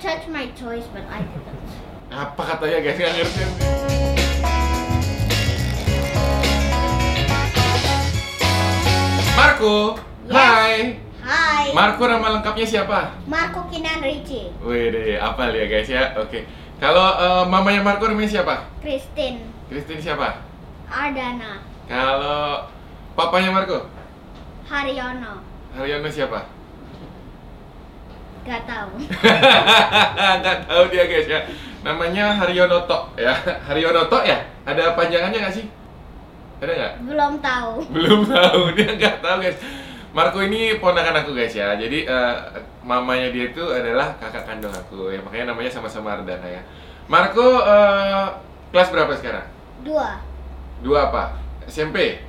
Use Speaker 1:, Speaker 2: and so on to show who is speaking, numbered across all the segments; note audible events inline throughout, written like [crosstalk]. Speaker 1: touch my toys, but I didn't.
Speaker 2: Apa katanya guys? Gak ngerti nih. Marco,
Speaker 1: Yes.
Speaker 2: hai.
Speaker 1: Hi.
Speaker 2: Marco nama lengkapnya siapa?
Speaker 1: Marco Kinan Richie.
Speaker 2: Wih deh, apa ya guys ya? Oke. Kalau eh, mamanya Marco namanya siapa?
Speaker 1: Christine.
Speaker 2: Christine siapa?
Speaker 1: Ardana.
Speaker 2: Kalau papanya Marco,
Speaker 1: Haryono.
Speaker 2: Haryono siapa? [laughs]
Speaker 1: Gak tau.
Speaker 2: Nggak tahu dia guys ya. Namanya Haryono Tok ya. Haryono Tok ya? Ada panjangannya nggak sih? Ada nggak?
Speaker 1: Belum tahu.
Speaker 2: belum tahu [laughs] dia nggak tahu guys Marco ini ponakan aku guys ya jadi eh, mamanya dia itu adalah kakak kandung aku ya makanya namanya sama-sama Ardana ya Marco eh, kelas berapa sekarang
Speaker 1: Dua.
Speaker 2: dua apa SMP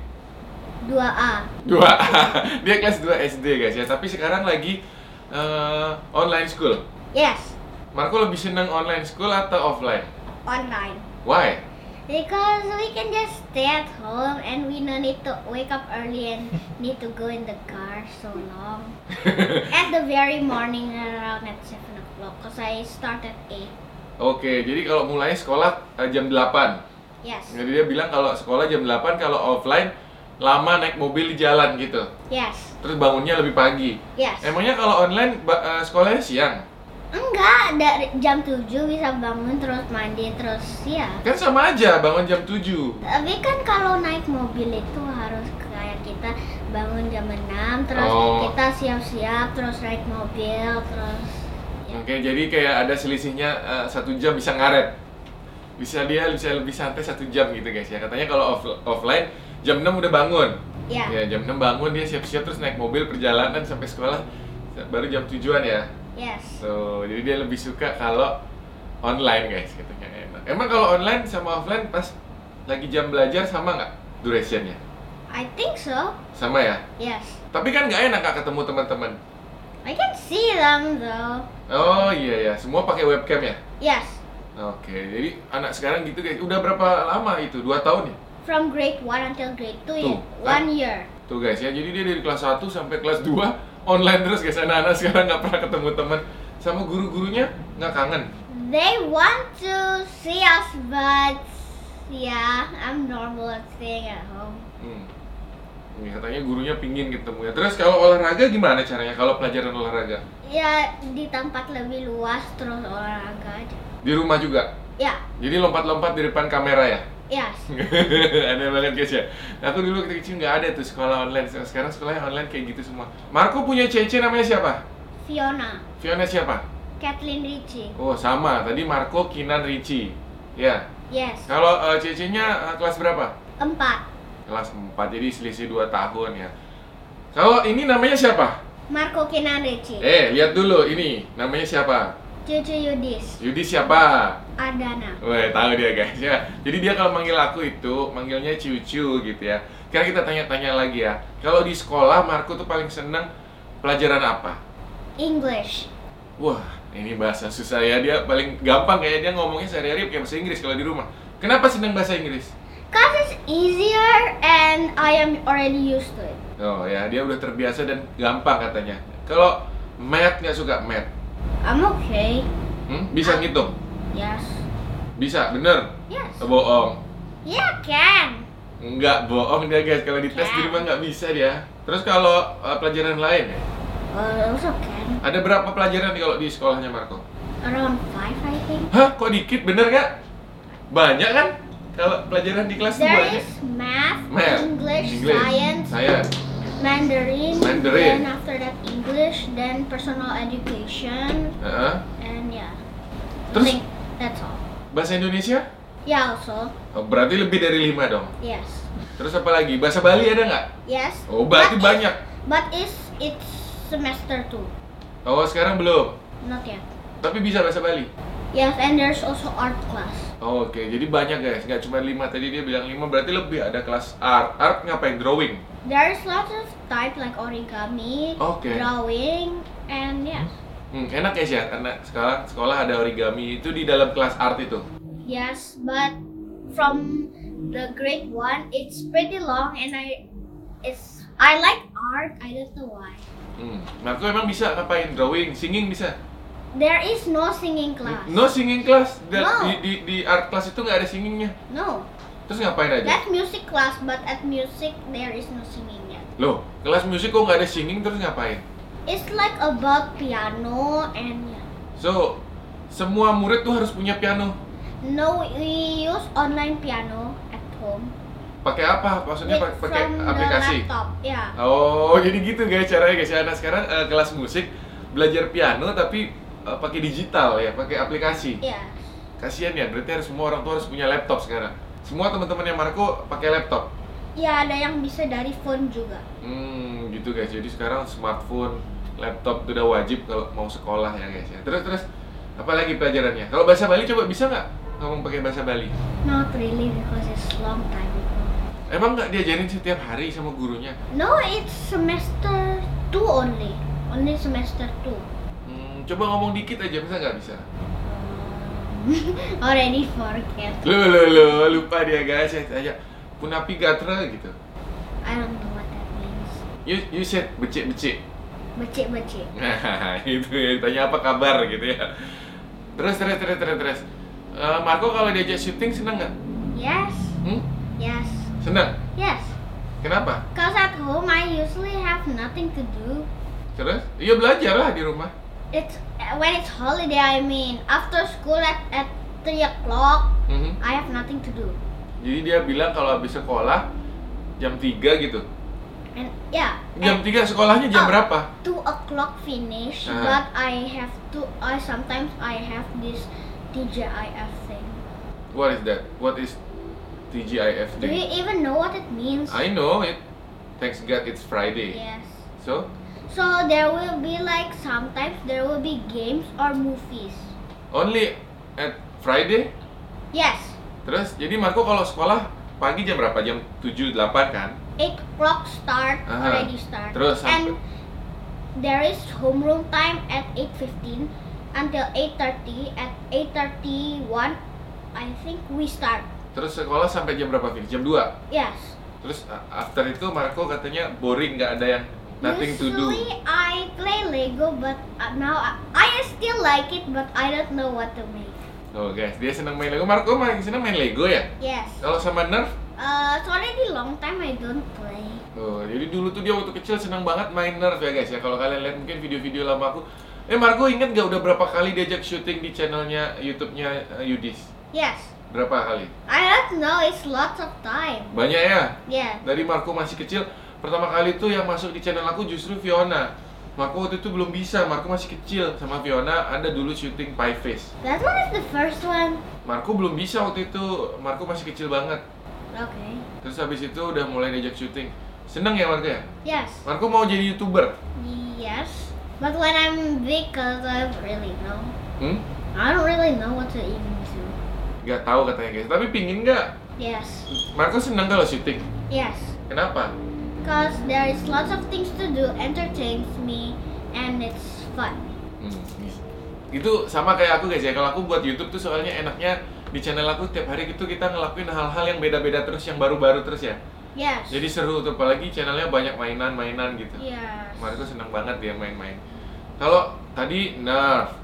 Speaker 1: Dua A.
Speaker 2: dua [laughs] dia kelas 2 SD guys ya tapi sekarang lagi eh, online school
Speaker 1: Yes.
Speaker 2: Marco lebih seneng online school atau offline
Speaker 1: Online.
Speaker 2: why
Speaker 1: Because we can just stay at home and we no need to wake up early and need to go in the car so long. at the very morning around at 7 o'clock because I start at 8.
Speaker 2: Oke, jadi kalau mulai sekolah eh, jam 8
Speaker 1: Yes.
Speaker 2: Jadi dia bilang kalau sekolah jam 8 kalau offline lama naik mobil di jalan gitu.
Speaker 1: Yes.
Speaker 2: Terus bangunnya lebih pagi.
Speaker 1: Yes.
Speaker 2: Emangnya kalau online ba- eh, sekolahnya siang?
Speaker 1: Enggak, dari jam 7 bisa bangun terus mandi terus ya.
Speaker 2: Kan sama aja bangun jam 7.
Speaker 1: Tapi kan kalau naik mobil itu harus kayak kita bangun jam 6 terus
Speaker 2: Oh.
Speaker 1: kita siap-siap terus naik mobil terus ya.
Speaker 2: Oke, jadi kayak ada selisihnya eh, satu jam bisa ngaret. Bisa dia bisa lebih santai satu jam gitu guys ya. Katanya kalau off- offline jam 6 udah bangun.
Speaker 1: Ya.
Speaker 2: Ya, jam 6 bangun dia siap-siap terus naik mobil perjalanan sampai sekolah baru jam tujuan ya.
Speaker 1: Yes.
Speaker 2: So, jadi dia lebih suka kalau online guys katanya enak. Emang kalau online sama offline pas lagi jam belajar sama nggak durationnya?
Speaker 1: I think so.
Speaker 2: Sama ya.
Speaker 1: Yes.
Speaker 2: Tapi kan nggak enak nggak ketemu teman-teman.
Speaker 1: I can see them though.
Speaker 2: Oh iya ya, semua pakai webcam ya.
Speaker 1: Yes.
Speaker 2: Oke, jadi anak sekarang gitu guys. Udah berapa lama itu? Dua tahun ya.
Speaker 1: From grade 1 until grade 2
Speaker 2: Tuh, kan?
Speaker 1: 1 year.
Speaker 2: Tuh guys ya. Jadi dia dari kelas 1 sampai kelas 2 online terus guys. Anak-anak sekarang nggak pernah ketemu teman. Sama guru-gurunya nggak kangen.
Speaker 1: They want to see us but yeah, I'm normal at staying at home.
Speaker 2: Hmm. Ini katanya gurunya pingin ketemu ya. Terus kalau olahraga gimana caranya? Kalau pelajaran olahraga
Speaker 1: Ya di tempat lebih luas terus olahraga aja.
Speaker 2: di rumah juga.
Speaker 1: Ya,
Speaker 2: Jadi lompat-lompat di depan kamera ya.
Speaker 1: yes.
Speaker 2: [laughs] ada banget guys ya. Aku dulu waktu kecil nggak ada tuh sekolah online. Sekarang sekolahnya online kayak gitu semua. Marco punya cece namanya siapa?
Speaker 1: Fiona,
Speaker 2: Fiona siapa?
Speaker 1: Kathleen Richie.
Speaker 2: Oh sama. Tadi Marco Kinan Ricci. Ya.
Speaker 1: Yes.
Speaker 2: Kalau eh, cecenya eh, kelas berapa?
Speaker 1: Empat.
Speaker 2: Kelas 4. Jadi selisih 2 tahun ya. Kalau ini namanya siapa?
Speaker 1: Marco Kinan Richie.
Speaker 2: Eh, lihat dulu ini. Namanya siapa?
Speaker 1: Cucu Yudis.
Speaker 2: Yudi siapa?
Speaker 1: Adana.
Speaker 2: Weh, tahu dia guys ya. Jadi dia kalau manggil aku itu manggilnya cucu gitu ya. Sekarang kita tanya-tanya lagi ya. Kalau di sekolah Marco tuh paling seneng pelajaran apa?
Speaker 1: English.
Speaker 2: Wah, ini bahasa susah ya. Dia paling gampang kayak dia ngomongnya sehari-hari pakai bahasa Inggris kalau di rumah. Kenapa seneng bahasa Inggris?
Speaker 1: Cause it's easier and I am already used to it.
Speaker 2: Oh ya, dia udah terbiasa dan gampang katanya. Kalau math nggak suka math.
Speaker 1: I'm okay.
Speaker 2: Hmm? Bisa ngitung?
Speaker 1: Yes.
Speaker 2: Bisa, bener?
Speaker 1: Yes.
Speaker 2: Bohong.
Speaker 1: Yeah, can.
Speaker 2: Nggak bohong dia guys. Kalau dites di rumah nggak bisa dia. Terus kalau eh, pelajaran lain ya?
Speaker 1: Uh, also can.
Speaker 2: Ada berapa pelajaran kalau di sekolahnya Marco?
Speaker 1: Around five, I think.
Speaker 2: Hah, kok dikit bener nggak? Banyak kan? Kalau pelajaran di kelas
Speaker 1: There
Speaker 2: 2
Speaker 1: is math,
Speaker 2: eh? Math,
Speaker 1: English, science,
Speaker 2: saya
Speaker 1: Mandarin, then
Speaker 2: Mandarin.
Speaker 1: after that English, then personal education,
Speaker 2: Heeh.
Speaker 1: and yeah. I
Speaker 2: Terus?
Speaker 1: think that's all.
Speaker 2: bahasa Indonesia?
Speaker 1: Yeah, also
Speaker 2: Oh, berarti lebih dari lima dong.
Speaker 1: yes,
Speaker 2: Terus apa lagi? Bahasa Bali ada nggak?
Speaker 1: yes.
Speaker 2: Oh, berarti
Speaker 1: But
Speaker 2: banyak.
Speaker 1: Is, but is it's semester two,
Speaker 2: Oh, sekarang belum.
Speaker 1: not yet.
Speaker 2: Tapi bisa bahasa Bali.
Speaker 1: Yes, and there's also art class.
Speaker 2: Oh, Oke, jadi banyak guys. Nggak cuma lima. Tadi dia bilang lima, berarti lebih. Ada kelas art. Art ngapain? Drawing.
Speaker 1: There's lots of type like origami,
Speaker 2: Okay.
Speaker 1: drawing, and yes,
Speaker 2: Hmm, enak guys ya, karena sekarang sekolah ada origami itu di dalam kelas art itu.
Speaker 1: yes. But from the grade one, it's pretty long, and I, it's I like art. I don't know why.
Speaker 2: Nah, Hmm. Marco emang bisa ngapain? Drawing, singing bisa?
Speaker 1: There is no singing class.
Speaker 2: No singing class. Da-
Speaker 1: No.
Speaker 2: Di, di, di art class itu nggak ada singingnya.
Speaker 1: No.
Speaker 2: Terus ngapain aja?
Speaker 1: That's music class, but at music there is no singing yet.
Speaker 2: Loh, kelas musik kok nggak ada singing terus ngapain?
Speaker 1: It's like about piano and
Speaker 2: So, semua murid tuh harus punya piano.
Speaker 1: no, we use online piano at home.
Speaker 2: Pakai apa? Maksudnya
Speaker 1: With-
Speaker 2: pak- pakai
Speaker 1: from
Speaker 2: aplikasi.
Speaker 1: the laptop, yeah.
Speaker 2: Oh, jadi gitu guys caranya guys. Ya, Nah, sekarang eh, kelas musik belajar piano tapi eh, pakai digital ya, pakai aplikasi.
Speaker 1: Yeah.
Speaker 2: Kasihan ya, berarti harus semua orang tua harus punya laptop sekarang. Semua teman-temannya Marco pakai laptop.
Speaker 1: Ya ada yang bisa dari phone juga.
Speaker 2: Hmm, gitu guys. Jadi sekarang smartphone, laptop itu udah wajib kalau mau sekolah ya guys ya. Terus terus apalagi pelajarannya? Kalau bahasa Bali coba bisa nggak ngomong pakai bahasa Bali?
Speaker 1: Not really because it's long time ago.
Speaker 2: Emang nggak diajarin setiap hari sama gurunya?
Speaker 1: No, it's semester 2 only. Only semester 2.
Speaker 2: Hmm, coba ngomong dikit aja bisa nggak bisa?
Speaker 1: Um, [laughs] Already forget.
Speaker 2: Lo lo lo lupa dia guys ya aja. Punapi gatra gitu.
Speaker 1: I don't know what that means.
Speaker 2: You you said becik becik.
Speaker 1: Becik-becik.
Speaker 2: [laughs] Nah, itu ya, tanya apa kabar gitu ya. Terus terus terus terus terus. Eh, Marco kalau diajak syuting seneng nggak?
Speaker 1: Yes,
Speaker 2: Hmm?
Speaker 1: yes,
Speaker 2: Seneng.
Speaker 1: yes.
Speaker 2: Kenapa?
Speaker 1: Cause at home I usually have nothing to do.
Speaker 2: Terus? Iya belajar lah di rumah.
Speaker 1: It's uh, when it's holiday. I mean, after school at at three o'clock,
Speaker 2: Mhm.
Speaker 1: I have nothing to do.
Speaker 2: Jadi dia bilang kalau habis sekolah jam 3 gitu.
Speaker 1: And yeah,
Speaker 2: Jam 3 sekolahnya jam
Speaker 1: Oh.
Speaker 2: berapa?
Speaker 1: two o'clock finish,
Speaker 2: Uh-huh.
Speaker 1: but I have to. I sometimes I have this TGIF thing.
Speaker 2: What is that? What is TGIF
Speaker 1: Do you
Speaker 2: day?
Speaker 1: even know what it means?
Speaker 2: I know it. Thanks God it's Friday.
Speaker 1: yes.
Speaker 2: So,
Speaker 1: So there will be like sometimes there will be games or movies.
Speaker 2: only at Friday.
Speaker 1: Yes,
Speaker 2: Terus jadi Marco kalau sekolah pagi jam berapa? Jam 7 8 kan?
Speaker 1: eight o'clock start
Speaker 2: Uh-huh.
Speaker 1: already start.
Speaker 2: Terus
Speaker 1: and
Speaker 2: sampai-
Speaker 1: there is homeroom time at eight fifteen until eight thirty. At eight thirty one, I think we start.
Speaker 2: Terus sekolah sampai jam berapa? Fir? Jam 2.
Speaker 1: Yes.
Speaker 2: Terus a- after itu Marco katanya boring nggak ada yang nothing to do.
Speaker 1: Usually I play Lego, but uh, now I, I still like it, but I don't know what to make.
Speaker 2: Oh guys, dia senang main Lego. Marco main senang main Lego ya?
Speaker 1: Yes.
Speaker 2: Kalau sama Nerf?
Speaker 1: Uh, it's already long time I don't play.
Speaker 2: Oh, jadi dulu tuh dia waktu kecil senang banget main Nerf ya guys ya. Kalau kalian lihat mungkin video-video lama aku. Eh Marco inget gak udah berapa kali diajak syuting di channelnya YouTube-nya eh, Yudis?
Speaker 1: Yes.
Speaker 2: Berapa kali?
Speaker 1: I don't know. It's lots of time.
Speaker 2: Banyak ya.
Speaker 1: Yeah.
Speaker 2: Dari Marco masih kecil, pertama kali tuh yang masuk di channel aku justru Fiona. Marco waktu itu belum bisa, Marco masih kecil sama Fiona. Anda dulu syuting Pie Face.
Speaker 1: That one is the first one.
Speaker 2: Marco belum bisa waktu itu, Marco masih kecil banget.
Speaker 1: Okay.
Speaker 2: Terus habis itu udah mulai diajak syuting. Seneng ya Marco ya?
Speaker 1: Yes.
Speaker 2: Marco mau jadi youtuber.
Speaker 1: Yes. But when I'm big, cause I don't really know.
Speaker 2: Hmm?
Speaker 1: I don't really know what to even do.
Speaker 2: Gak tahu katanya guys. Tapi pingin nggak?
Speaker 1: Yes.
Speaker 2: Marco seneng kalau syuting.
Speaker 1: Yes.
Speaker 2: Kenapa?
Speaker 1: Cause there is lots of things to do, entertains me, and it's fun.
Speaker 2: Hmm. Itu sama kayak aku guys ya. Kalau aku buat YouTube tuh soalnya enaknya di channel aku tiap hari gitu kita ngelakuin hal-hal yang beda-beda terus yang baru-baru terus ya.
Speaker 1: Yes.
Speaker 2: Jadi seru tuh apalagi channelnya banyak mainan-mainan gitu.
Speaker 1: Yes.
Speaker 2: Marco seneng banget dia main-main. Kalau tadi Nerf,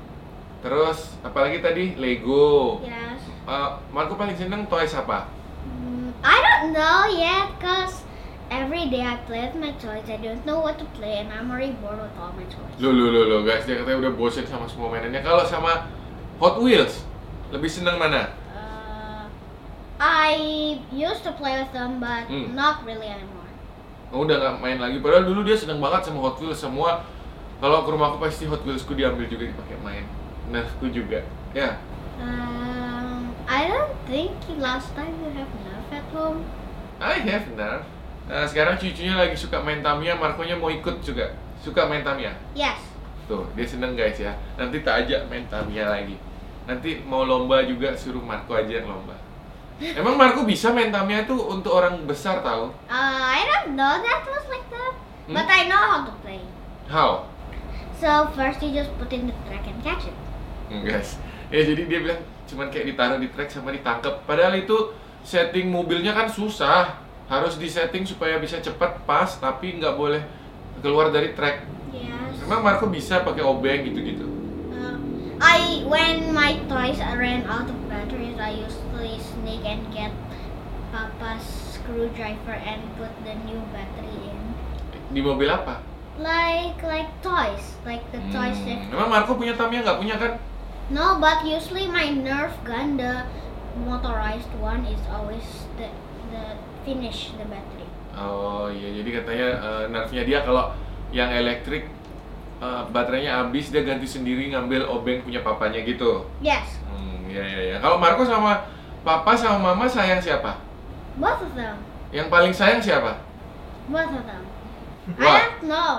Speaker 2: terus apalagi tadi Lego.
Speaker 1: Yes.
Speaker 2: Eh, Marco paling seneng toys apa?
Speaker 1: Mm, I don't know yet, cause every day I play with my toys. I don't know what to play, and I'm already bored with all my toys.
Speaker 2: Loh, loh, loh, loh, guys, dia katanya udah bosen sama semua mainannya. Kalau sama Hot Wheels, lebih seneng mana?
Speaker 1: Uh, I used to play with them, but
Speaker 2: Mm.
Speaker 1: not really anymore.
Speaker 2: Oh, udah nggak main lagi. Padahal dulu dia seneng banget sama Hot Wheels semua. Kalau ke rumah aku pasti Hot Wheelsku diambil juga dipakai main. Nerfku juga. Ya,
Speaker 1: Um, I don't think last time you have enough at home.
Speaker 2: I have Nerf. Nah, sekarang cucunya lagi suka main Tamiya, Markonya mau ikut juga. Suka main Tamiya.
Speaker 1: Yes.
Speaker 2: Tuh, dia seneng guys ya. Nanti tak ajak main Tamiya lagi. Nanti mau lomba juga suruh Marco aja yang lomba. Emang Marco bisa main Tamiya tuh untuk orang besar tahu?
Speaker 1: Uh, I don't know that was like that,
Speaker 2: Hmm?
Speaker 1: but I know how to play.
Speaker 2: How?
Speaker 1: So first you just put in the track and catch it.
Speaker 2: Hmm, guys ya jadi dia bilang cuman kayak ditaruh di track sama ditangkap padahal itu setting mobilnya kan susah harus disetting supaya bisa cepat pas tapi nggak boleh keluar dari track
Speaker 1: Yes.
Speaker 2: emang Marco bisa pakai obeng gitu gitu
Speaker 1: Um, I when my toys ran out of batteries, I usually sneak and get Papa's screwdriver and put the new battery in.
Speaker 2: Di mobil apa?
Speaker 1: Like like toys, like the toys that
Speaker 2: Hmm, Emang Marco punya Tamiya nggak punya kan?
Speaker 1: No, but usually my Nerf gun, the motorized one, is always the the finish the battery.
Speaker 2: Oh iya, jadi katanya eh, nerfnya dia kalau yang elektrik eh, baterainya habis dia ganti sendiri ngambil obeng punya papanya gitu.
Speaker 1: Yes,
Speaker 2: Hmm, iya iya iya. Kalau Marco sama papa sama mama sayang siapa?
Speaker 1: both of them,
Speaker 2: Yang paling sayang siapa?
Speaker 1: both of them. I
Speaker 2: Wah,
Speaker 1: don't know.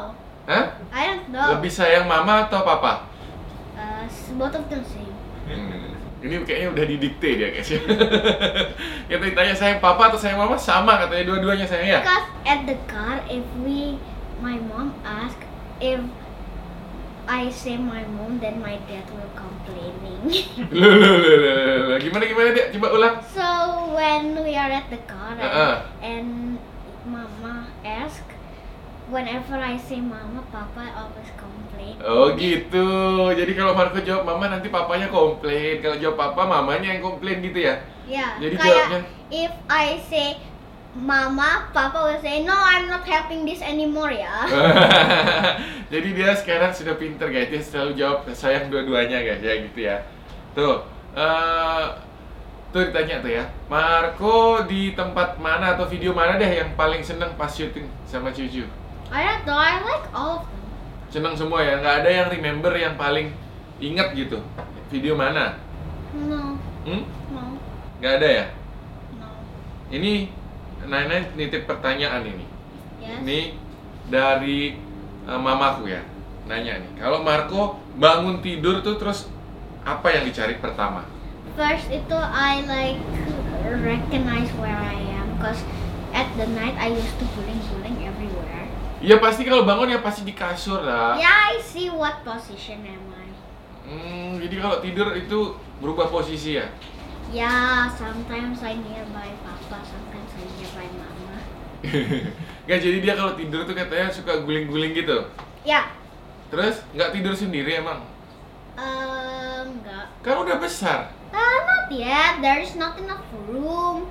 Speaker 2: Hah?
Speaker 1: I don't know.
Speaker 2: Lebih sayang mama atau papa?
Speaker 1: Uh, s- both of them same.
Speaker 2: Hmm, Ini kayaknya udah didikte dia guys [laughs] ya. Kita ditanya sayang papa atau sayang mama sama katanya dua-duanya sayang ya.
Speaker 1: Because at the car, if we, my mom asked if I say my mom, then my dad will [laughs] complaining.
Speaker 2: Loh, loh, loh, loh, loh, loh. Gimana gimana dia? Coba ulang.
Speaker 1: So when we are at the car and,
Speaker 2: Uh-uh.
Speaker 1: and mama ask, whenever I say mama, papa always complain.
Speaker 2: Oh gitu. Jadi kalau Marco jawab mama nanti papanya komplain. Kalau jawab papa mamanya yang komplain gitu ya.
Speaker 1: Yeah,
Speaker 2: Jadi
Speaker 1: kayak
Speaker 2: jawabnya?
Speaker 1: if I say mama, papa will say no, I'm not helping this anymore ya.
Speaker 2: Jadi dia sekarang sudah pinter guys. Dia selalu jawab sayang dua-duanya guys ya gitu ya. Tuh. eh tuh ditanya tuh ya. Marco di tempat mana atau video mana deh yang paling seneng pas syuting sama cucu?
Speaker 1: I don't know, I like all of them.
Speaker 2: Seneng semua ya. Nggak ada yang remember yang paling inget gitu. Video mana?
Speaker 1: No,
Speaker 2: Hmm?
Speaker 1: no,
Speaker 2: Nggak ada ya?
Speaker 1: no.
Speaker 2: Ini Nana nitip pertanyaan ini.
Speaker 1: Yes.
Speaker 2: Ini dari eh, mamaku ya. Nanya nih, kalau Marco bangun tidur tuh terus apa yang dicari pertama?
Speaker 1: First itu I like recognize where I am, cause at the night I used to guling-guling everywhere.
Speaker 2: Ya pasti kalau bangun ya pasti di kasur lah.
Speaker 1: Yeah, I see what position am I.
Speaker 2: Hmm, jadi kalau tidur itu berubah posisi ya. [laughs]
Speaker 1: Yeah, sometimes I nearby Papa, sometimes I nearby Mama.
Speaker 2: Nggak jadi dia kalau tidur tuh katanya suka guling-guling gitu.
Speaker 1: Yeah,
Speaker 2: Terus nggak tidur sendiri emang?
Speaker 1: um, enggak.
Speaker 2: Kan udah besar.
Speaker 1: Uh, not yet. There is not enough room.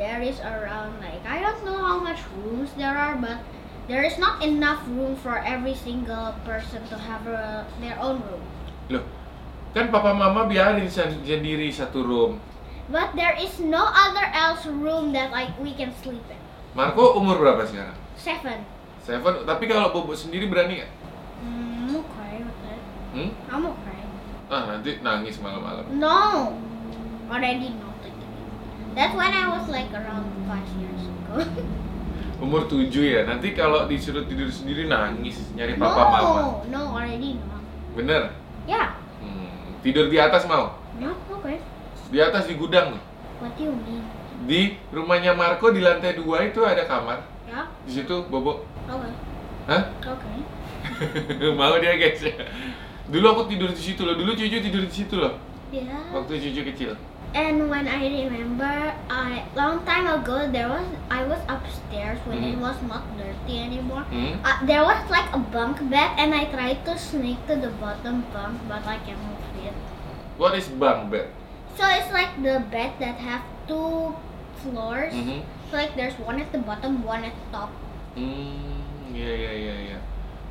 Speaker 1: There is around like I don't know how much rooms there are, but there is not enough room for every single person to have a, their own room.
Speaker 2: Loh, kan papa mama biarin sen- sendiri satu room.
Speaker 1: But there is no other else room that like we can sleep in.
Speaker 2: Marco umur berapa sekarang?
Speaker 1: Seven.
Speaker 2: Seven, tapi kalau bobo sendiri berani nggak?
Speaker 1: Mm, I'm okay with it.
Speaker 2: Hmm?
Speaker 1: I'm okay.
Speaker 2: Ah nanti nangis malam-malam.
Speaker 1: No, already not like that. That's when I was like around five years ago.
Speaker 2: Umur tujuh ya, nanti kalau disuruh tidur sendiri nangis
Speaker 1: [laughs]
Speaker 2: nyari
Speaker 1: no,
Speaker 2: papa mama.
Speaker 1: no, already not.
Speaker 2: Bener?
Speaker 1: Yeah,
Speaker 2: Hmm, tidur di atas mau?
Speaker 1: not okay.
Speaker 2: Di atas di gudang nih.
Speaker 1: What do you mean?
Speaker 2: Di rumahnya Marco di lantai dua itu ada kamar.
Speaker 1: Yeah,
Speaker 2: Di situ bobo.
Speaker 1: okay,
Speaker 2: Hah? [laughs]
Speaker 1: okay.
Speaker 2: mau dia guys. Dulu aku tidur di situ loh. Dulu cucu tidur di situ loh.
Speaker 1: Yeah.
Speaker 2: Waktu cucu kecil.
Speaker 1: And when I remember, I long time ago there was I was upstairs when it
Speaker 2: Mhm.
Speaker 1: was not dirty anymore.
Speaker 2: Hmm?
Speaker 1: Uh, there was like a bunk bed, and I tried to sneak to the bottom bunk, but I can't move it.
Speaker 2: What is bunk bed?
Speaker 1: So it's like the bed that have two floors.
Speaker 2: Mhm.
Speaker 1: So like there's one at the bottom, one at the top.
Speaker 2: Hmm, iya iya iya iya.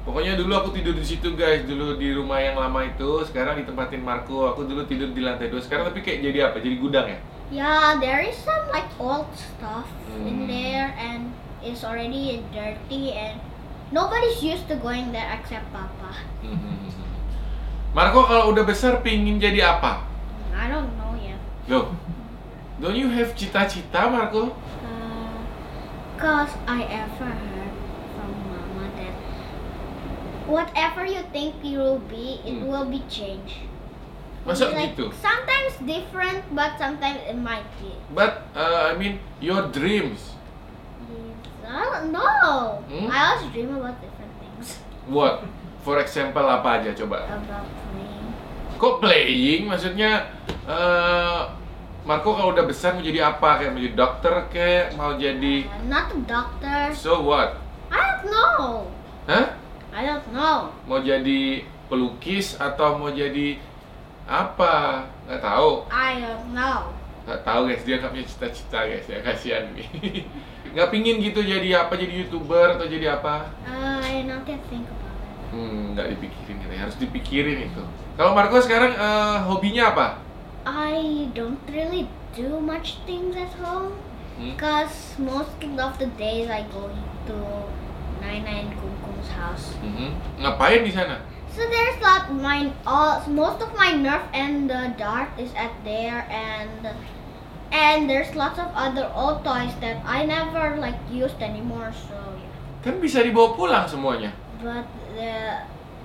Speaker 2: Pokoknya dulu aku tidur di situ guys, dulu di rumah yang lama itu, sekarang ditempatin Marco. Aku dulu tidur di lantai dua, sekarang tapi kayak jadi apa? Jadi gudang ya?
Speaker 1: Yeah, there is some like old stuff
Speaker 2: Hmm.
Speaker 1: in there and it's already dirty and nobody's used to going there except Papa.
Speaker 2: Mhm. Marco kalau udah besar pingin jadi apa?
Speaker 1: I don't know yet.
Speaker 2: Loh, don't you have cita-cita Marco?
Speaker 1: Uh, Cause I ever heard from Mama that whatever you think you will be, it
Speaker 2: Hmm.
Speaker 1: will be changed.
Speaker 2: Masa
Speaker 1: Like,
Speaker 2: gitu?
Speaker 1: Sometimes different, but sometimes it might be.
Speaker 2: But uh, I mean your dreams,
Speaker 1: I don't know.
Speaker 2: Hmm?
Speaker 1: I always dream about different things.
Speaker 2: what? For example apa aja coba?
Speaker 1: About playing.
Speaker 2: Kok playing? Maksudnya eh, Marco kalau udah besar mau jadi apa? Kayak mau jadi dokter kayak mau jadi
Speaker 1: I'm not a doctor.
Speaker 2: So what?
Speaker 1: I don't know.
Speaker 2: Hah?
Speaker 1: I don't know.
Speaker 2: Mau jadi pelukis atau mau jadi Apa? Nggak tahu.
Speaker 1: I don't know.
Speaker 2: Nggak tahu guys, dia nggak punya cita-cita guys ya, kasihan nih. [laughs] nggak pingin gitu jadi apa, jadi youtuber atau jadi apa?
Speaker 1: Uh, I don't think think about it.
Speaker 2: Hmm, nggak dipikirin gitu, harus dipikirin itu. Kalau Marco sekarang eh, hobinya apa?
Speaker 1: I don't really do much things at home
Speaker 2: Hmm?
Speaker 1: because most of the days I go to Nai Nai and Kung Kung's house.
Speaker 2: Mhm. Ngapain di sana?
Speaker 1: So there's lot my all most of my nerf and the dart is at there and and there's lots of other old toys that I never like used anymore. So yeah.
Speaker 2: Kan bisa dibawa pulang semuanya.
Speaker 1: but the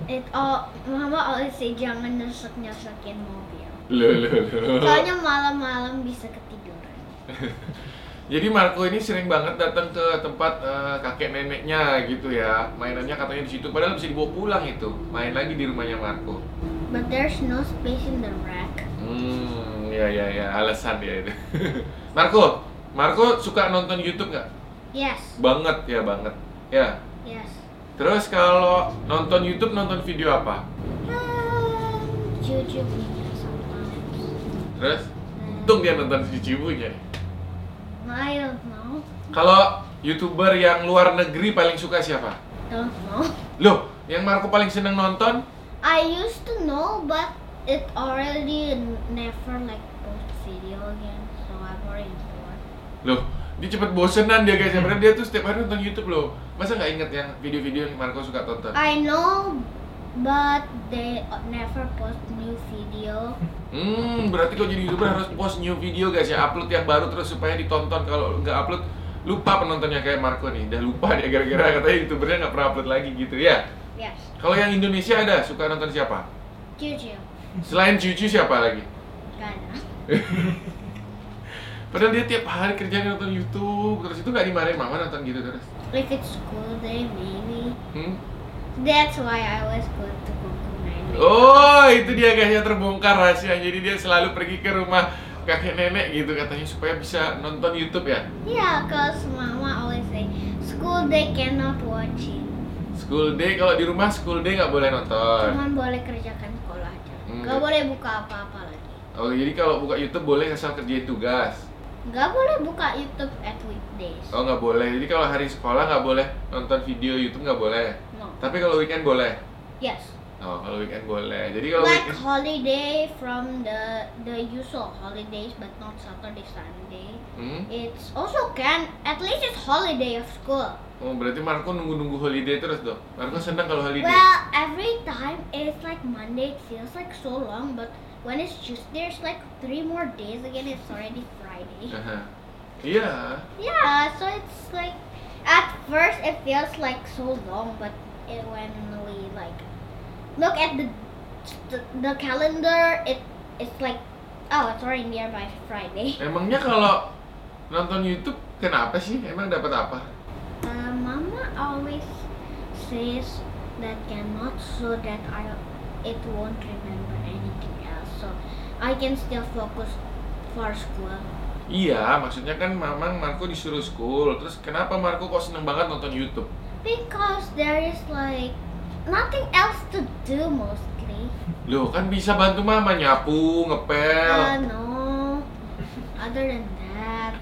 Speaker 1: it all mama always say jangan nyesek nyesekin mobil.
Speaker 2: [laughs] Loh, loh, loh.
Speaker 1: Soalnya malam-malam bisa ketiduran.
Speaker 2: Jadi Marco ini sering banget datang ke tempat eh, kakek neneknya gitu ya. Mainannya katanya di situ padahal bisa dibawa pulang itu. Main lagi di rumahnya Marco.
Speaker 1: But there's no space in the rack.
Speaker 2: Hmm, ya ya ya, alasan ya itu. [laughs] Marco, Marco suka nonton YouTube nggak?
Speaker 1: Yes,
Speaker 2: Banget ya, banget. Ya.
Speaker 1: yes.
Speaker 2: Terus kalau nonton YouTube nonton video apa?
Speaker 1: Um, Juju punya sometimes.
Speaker 2: Terus
Speaker 1: Um,
Speaker 2: untung dia nonton si Cibunya.
Speaker 1: I don't know.
Speaker 2: Kalau YouTuber yang luar negeri paling suka siapa?
Speaker 1: Don't know. [laughs]
Speaker 2: Loh, yang Marco paling seneng nonton?
Speaker 1: I used to know, but it already n- never like post video again, so I'm already bored.
Speaker 2: Loh, dia cepet bosenan dia guys. Ya, Padahal dia tuh setiap hari nonton YouTube loh. Masa nggak inget yang video-video yang Marco suka tonton?
Speaker 1: I know, but they o- never post new video.
Speaker 2: Hmm, berarti kalau jadi youtuber harus post new video guys ya, upload yang baru terus supaya ditonton. Kalau nggak upload, lupa penontonnya kayak Marco nih. Udah lupa dia gara-gara katanya youtubernya nggak pernah upload lagi gitu ya.
Speaker 1: Yes,
Speaker 2: Kalau yang Indonesia ada suka nonton siapa?
Speaker 1: Juju,
Speaker 2: Selain Cucu siapa lagi?
Speaker 1: Gana.
Speaker 2: Padahal dia tiap hari kerjanya nonton YouTube terus itu nggak dimarahin mama nonton gitu terus.
Speaker 1: If it's school day, maybe.
Speaker 2: Hmm?
Speaker 1: That's why I always go to Kukunai.
Speaker 2: Oh, itu dia guys yang terbongkar rahasia. Jadi dia selalu pergi ke rumah kakek nenek gitu katanya supaya bisa nonton YouTube ya.
Speaker 1: Yeah, cause Mama always say school day cannot watch it.
Speaker 2: School day kalau di rumah school day nggak boleh nonton.
Speaker 1: Cuman boleh kerjakan sekolah aja.
Speaker 2: Hmm.
Speaker 1: Gak boleh buka apa-apa lagi.
Speaker 2: Oh, jadi kalau buka YouTube boleh asal kerjain tugas.
Speaker 1: Gak boleh buka YouTube at weekdays.
Speaker 2: Oh, nggak boleh. Jadi kalau hari sekolah nggak boleh nonton video YouTube nggak boleh.
Speaker 1: No.
Speaker 2: Tapi kalau weekend boleh.
Speaker 1: Yes.
Speaker 2: Oh, kalau weekend boleh. Jadi kalau
Speaker 1: Like
Speaker 2: weekend
Speaker 1: holiday from the the usual holidays, but not Saturday Sunday.
Speaker 2: Hmm?
Speaker 1: It's also can at least it's holiday of school.
Speaker 2: Oh, berarti Marco nunggu-nunggu holiday terus dong. Marco senang kalau holiday.
Speaker 1: Well, every time it's like Monday. It feels like so long, but when it's Tuesday, it's like three more days again. It's already Friday.
Speaker 2: Aha. Iya.
Speaker 1: Yeah, so it's like at first it feels like so long, but it, when we like look at the the, the calendar, it it's like oh, it's already nearby Friday.
Speaker 2: Emangnya kalau nonton YouTube kenapa sih? Emang dapat apa?
Speaker 1: Uh, Mama always says that cannot so that I it won't remember anything else, so I can still focus for school.
Speaker 2: Iya, maksudnya kan Mamang Marco disuruh school. Terus kenapa Marco kok seneng banget nonton YouTube?
Speaker 1: Because there is like nothing else to do mostly.
Speaker 2: Loh, kan bisa bantu Mama nyapu, ngepel.
Speaker 1: Uh, no. Other than that,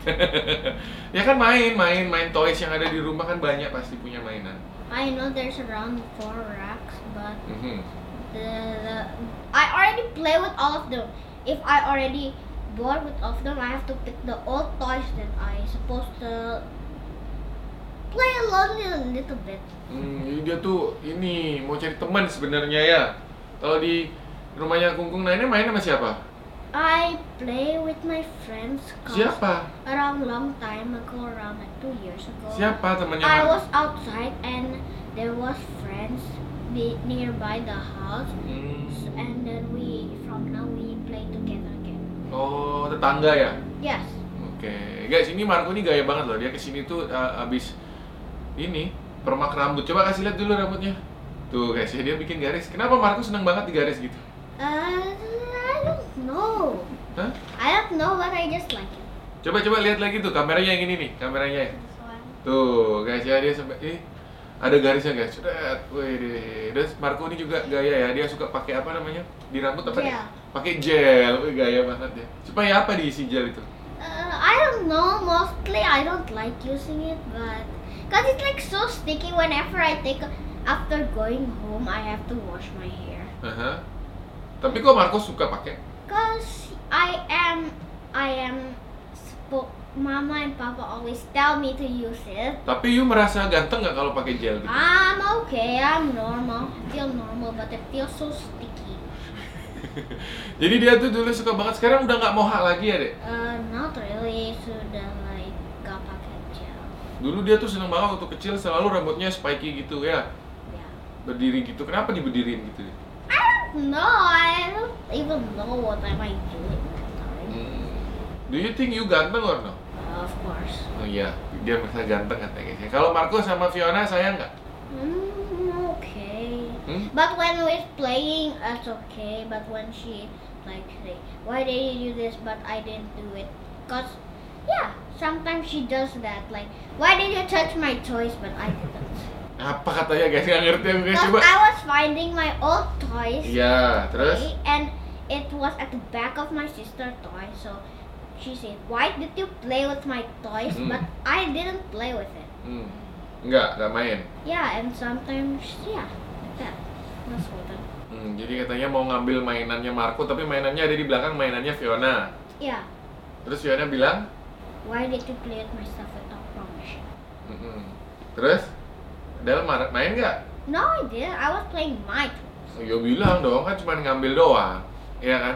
Speaker 2: [laughs] Ya kan main, main, main toys yang ada di rumah kan banyak pasti punya mainan.
Speaker 1: I know there's around four racks, but
Speaker 2: Mhm.
Speaker 1: the, the Uh, I already play with all of them. If I already bored with all of them, I have to pick the old toys that I supposed to play alone a little bit.
Speaker 2: Hmm, jadi dia tuh ini mau cari teman sebenarnya ya. Kalau di rumahnya Kungkung Nainnya main sama siapa?
Speaker 1: I play with my friends 'cause
Speaker 2: Siapa?
Speaker 1: around long time ago, around like two years ago.
Speaker 2: Siapa temannya?
Speaker 1: I
Speaker 2: Marco?
Speaker 1: was outside and there was friends be- nearby the house.
Speaker 2: Hmm.
Speaker 1: and then we from now we play together again.
Speaker 2: Oh, tetangga ya.
Speaker 1: Yes.
Speaker 2: Oke, guys, ini Marco ini gaya banget loh. Dia kesini tuh uh, abis ini permak rambut. Coba kasih lihat dulu rambutnya. Tuh guys, ya, dia bikin garis. Kenapa Marco senang banget digaris gitu?
Speaker 1: Uh, I don't know.
Speaker 2: Hah?
Speaker 1: I don't know, but I just like it.
Speaker 2: Coba coba lihat lagi tuh kameranya yang ini nih, kameranya. ya.
Speaker 1: This one.
Speaker 2: Tuh, guys ya dia sampai ih ada garisnya guys. Ceret. Wih. Terus Marco ini juga gaya ya. Dia suka pakai apa namanya? Di rambut apa? nih?
Speaker 1: Gel.
Speaker 2: pakai gel, Wih, gaya banget ya. Supaya apa diisi gel itu?
Speaker 1: Uh, I don't know. Mostly I don't like using it, but because it's like so sticky. Whenever I take after going home, I have to wash my hair.
Speaker 2: Aha. Tapi kok Marco suka pakai?
Speaker 1: Cause I am, I am. Spo- Mama and Papa always tell me to use it.
Speaker 2: Tapi you merasa ganteng nggak kalau pakai gel gitu?
Speaker 1: I'm okay. I'm normal. I feel normal, but it feels so sticky.
Speaker 2: Jadi dia tuh dulu suka banget, sekarang udah nggak mohak lagi ya dek.
Speaker 1: Uh, not really. Sudah like gak pakai gel.
Speaker 2: Dulu dia tuh seneng banget waktu kecil selalu rambutnya spiky gitu ya,
Speaker 1: Yeah.
Speaker 2: berdiri gitu. Kenapa diberdiriin gitu? Dek?
Speaker 1: No, I don't even know what am I doing that time.
Speaker 2: Mm. Do you think you ganteng or no?
Speaker 1: Uh, of course.
Speaker 2: Oh iya, dia merasa ganteng katanya guys ya. Kalau Marco sama Fiona sayang nggak?
Speaker 1: Mm, okay.
Speaker 2: Hmm?
Speaker 1: But when we're playing, it's okay. But when she like say, why did you do this? But I didn't do it. Cause yeah, sometimes she does that. Like, why did you touch my toys? But I didn't.
Speaker 2: Apa katanya guys? Nggak ngerti aku guys
Speaker 1: Cause
Speaker 2: coba.
Speaker 1: I was finding my old toys.
Speaker 2: Iya, terus?
Speaker 1: Okay, and it was at the back of my sister's toy. So she said, "Why did you play with my toys?"
Speaker 2: Mm.
Speaker 1: But I didn't play with it.
Speaker 2: Hmm. Nggak, nggak main.
Speaker 1: Yeah, and sometimes yeah, like that. That's what I-
Speaker 2: Hmm, jadi katanya mau ngambil mainannya Marco, tapi mainannya ada di belakang mainannya Fiona.
Speaker 1: Yeah.
Speaker 2: Terus Fiona bilang,
Speaker 1: Why did you play with my stuff without permission?
Speaker 2: "Mm-mm." terus? Del mar- main nggak?
Speaker 1: No, I didn't. I was playing my toys.
Speaker 2: Ya bilang dong, kan cuma ngambil doang. Iya kan?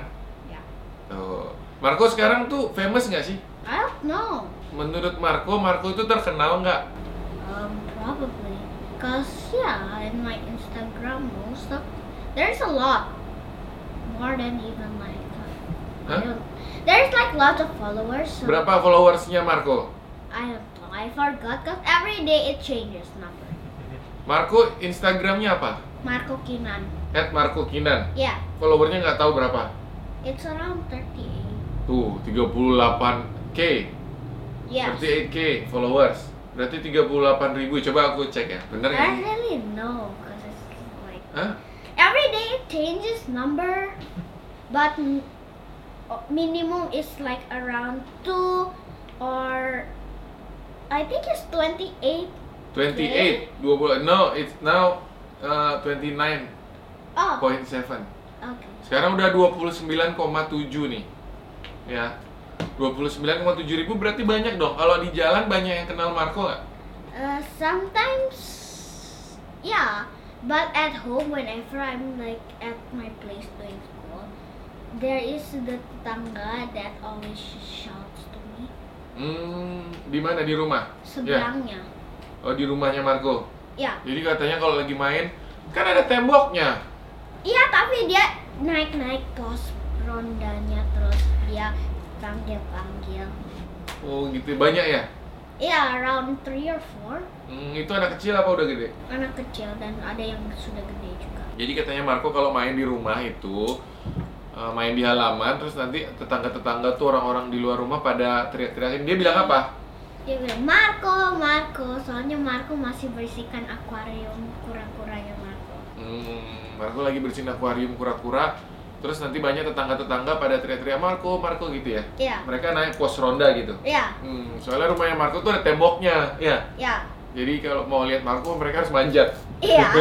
Speaker 1: Ya.
Speaker 2: Tuh. Marco sekarang tuh famous nggak sih?
Speaker 1: I don't know.
Speaker 2: Menurut Marco, Marco itu terkenal nggak?
Speaker 1: Um, probably. Cause yeah, in my Instagram, most of there's a lot more than even like. I
Speaker 2: Huh?
Speaker 1: don't- There's like lots of followers. So
Speaker 2: Berapa followersnya Marco?
Speaker 1: I don't know. I forgot because every day it changes number.
Speaker 2: Marco Instagramnya apa?
Speaker 1: Marco Kinan.
Speaker 2: At Marco Kinan.
Speaker 1: Yeah,
Speaker 2: Followernya nggak tahu berapa.
Speaker 1: it's around 38.
Speaker 2: Tuh, 38k.
Speaker 1: Yeah.
Speaker 2: 38k followers. Berarti 38 ribu. Coba aku cek ya. Bener nggak?
Speaker 1: I really know because it's like
Speaker 2: Hah?
Speaker 1: every day it changes number, but m- uh, minimum is like around two or I think it's 28.
Speaker 2: 28, 20. No, it's now uh, 29.7.
Speaker 1: Oh, okay.
Speaker 2: Sekarang udah 29,7 nih. Ya. 29,7 ribu berarti banyak dong. Kalau di jalan banyak yang kenal Marco nggak?
Speaker 1: Uh, sometimes, yeah. But at home, whenever I'm like at my place doing school, there is the tetangga that always shouts to me.
Speaker 2: Hmm, di mana di rumah?
Speaker 1: Seberangnya,
Speaker 2: Oh, di rumahnya Marco.
Speaker 1: ya.
Speaker 2: Jadi katanya kalau lagi main kan ada temboknya.
Speaker 1: Iya, tapi dia naik-naik pos rondanya terus dia panggil-panggil.
Speaker 2: Oh, gitu banyak ya.
Speaker 1: Iya, around three or four
Speaker 2: Hmm, itu anak kecil apa udah gede?
Speaker 1: anak kecil dan ada yang sudah gede juga.
Speaker 2: Jadi katanya Marco kalau main di rumah itu eh, main di halaman terus nanti tetangga-tetangga tuh orang-orang di luar rumah pada teriak-teriakin. Dia bilang apa?
Speaker 1: Dia bilang, Marco, Marco. Soalnya Marco masih berisikan akuarium kura-kuranya Marco.
Speaker 2: Hmm, Marco lagi bersihin akuarium kura-kura. Terus nanti banyak tetangga-tetangga pada teriak-teriak Marco, Marco gitu ya.
Speaker 1: Iya,
Speaker 2: Mereka naik pos ronda gitu.
Speaker 1: iya,
Speaker 2: Hmm, soalnya rumahnya Marco tuh ada temboknya, ya.
Speaker 1: iya,
Speaker 2: Jadi kalau mau lihat Marco mereka harus manjat.
Speaker 1: iya.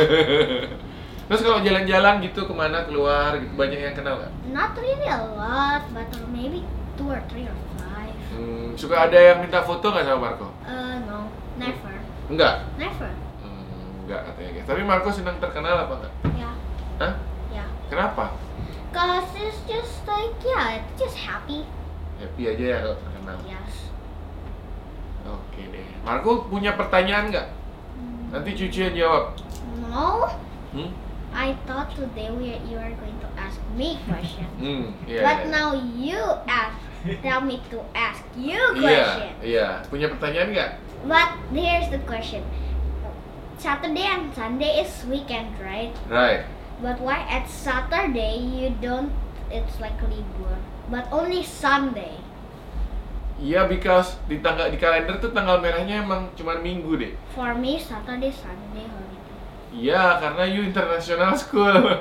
Speaker 2: Terus kalau jalan-jalan gitu kemana keluar gitu banyak yang kenal nggak?
Speaker 1: Not really a lot, but maybe two or three or five.
Speaker 2: Hmm, suka ada yang minta foto nggak sama Marco?
Speaker 1: Uh, no, never,
Speaker 2: Enggak.
Speaker 1: never.
Speaker 2: Hmm, enggak katanya guys. Tapi Marco senang terkenal apa enggak?
Speaker 1: Yeah,
Speaker 2: Hah?
Speaker 1: yeah.
Speaker 2: Kenapa?
Speaker 1: Cause it's just like, yeah, it's just happy.
Speaker 2: Happy aja ya kalau terkenal.
Speaker 1: Yes.
Speaker 2: Oke deh. Marco punya pertanyaan nggak?
Speaker 1: Mm,
Speaker 2: Nanti cucu yang jawab.
Speaker 1: No,
Speaker 2: Uh, Hmm?
Speaker 1: I thought today we you are going to ask me question.
Speaker 2: Hmm, iya.
Speaker 1: But
Speaker 2: iya.
Speaker 1: now you ask, tell me to ask you
Speaker 2: Iya,
Speaker 1: question.
Speaker 2: iya. Punya pertanyaan nggak?
Speaker 1: But here's the question. Saturday and Sunday is weekend, right?
Speaker 2: Right.
Speaker 1: But why at Saturday you don't? It's like libur. But only Sunday.
Speaker 2: Iya, because di tanggal di kalender tuh tanggal merahnya emang cuma minggu deh.
Speaker 1: For me, Saturday, Sunday holiday.
Speaker 2: [laughs] Iya, karena you international school.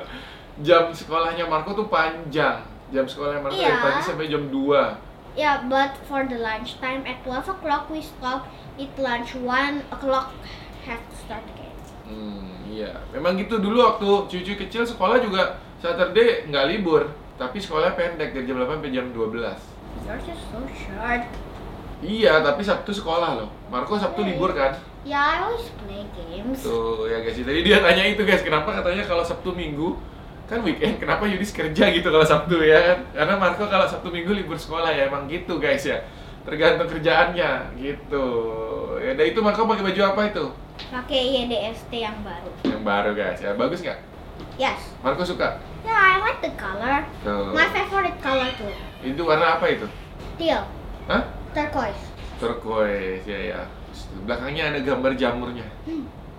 Speaker 2: Jam sekolahnya Marco tuh panjang. Jam sekolah Marco
Speaker 1: Iya.
Speaker 2: dari pagi sampai jam 2
Speaker 1: Yeah, but for the lunch time at 12 o'clock we stop, eat lunch, 1 o'clock have to start again.
Speaker 2: Hmm, iya. Memang gitu dulu waktu cucu kecil sekolah juga Saturday nggak libur, tapi sekolah pendek dari jam 8 sampai jam 12.
Speaker 1: Yours is so short.
Speaker 2: Iya, tapi Sabtu sekolah loh. Marco Sabtu
Speaker 1: Iya.
Speaker 2: libur kan?
Speaker 1: Yeah, I always play games.
Speaker 2: Tuh, ya guys. Tadi dia tanya itu guys, kenapa katanya kalau Sabtu Minggu kan weekend, kenapa Yudis kerja gitu kalau Sabtu ya kan? Karena Marco kalau Sabtu Minggu libur sekolah ya, emang gitu guys ya. Tergantung kerjaannya gitu. Ya, dan itu Marco pakai baju apa itu?
Speaker 1: Pakai E YDST yang baru.
Speaker 2: Yang baru guys. Ya bagus nggak?
Speaker 1: Yes.
Speaker 2: Marco suka.
Speaker 1: Yeah, I like the color.
Speaker 2: Tuh.
Speaker 1: My favorite color too.
Speaker 2: Itu warna apa itu?
Speaker 1: Teal,
Speaker 2: Hah?
Speaker 1: turquoise.
Speaker 2: Turquoise, ya ya. Terus di Belakangnya ada gambar jamurnya.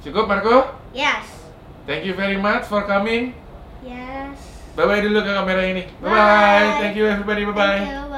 Speaker 2: Cukup Marco.
Speaker 1: Yes.
Speaker 2: Thank you very much for coming.
Speaker 1: Yes.
Speaker 2: Bye bye dulu ke kamera ini. Bye bye.
Speaker 1: Bye.
Speaker 2: Thank you everybody. Bye bye.
Speaker 1: Thank you. Bye.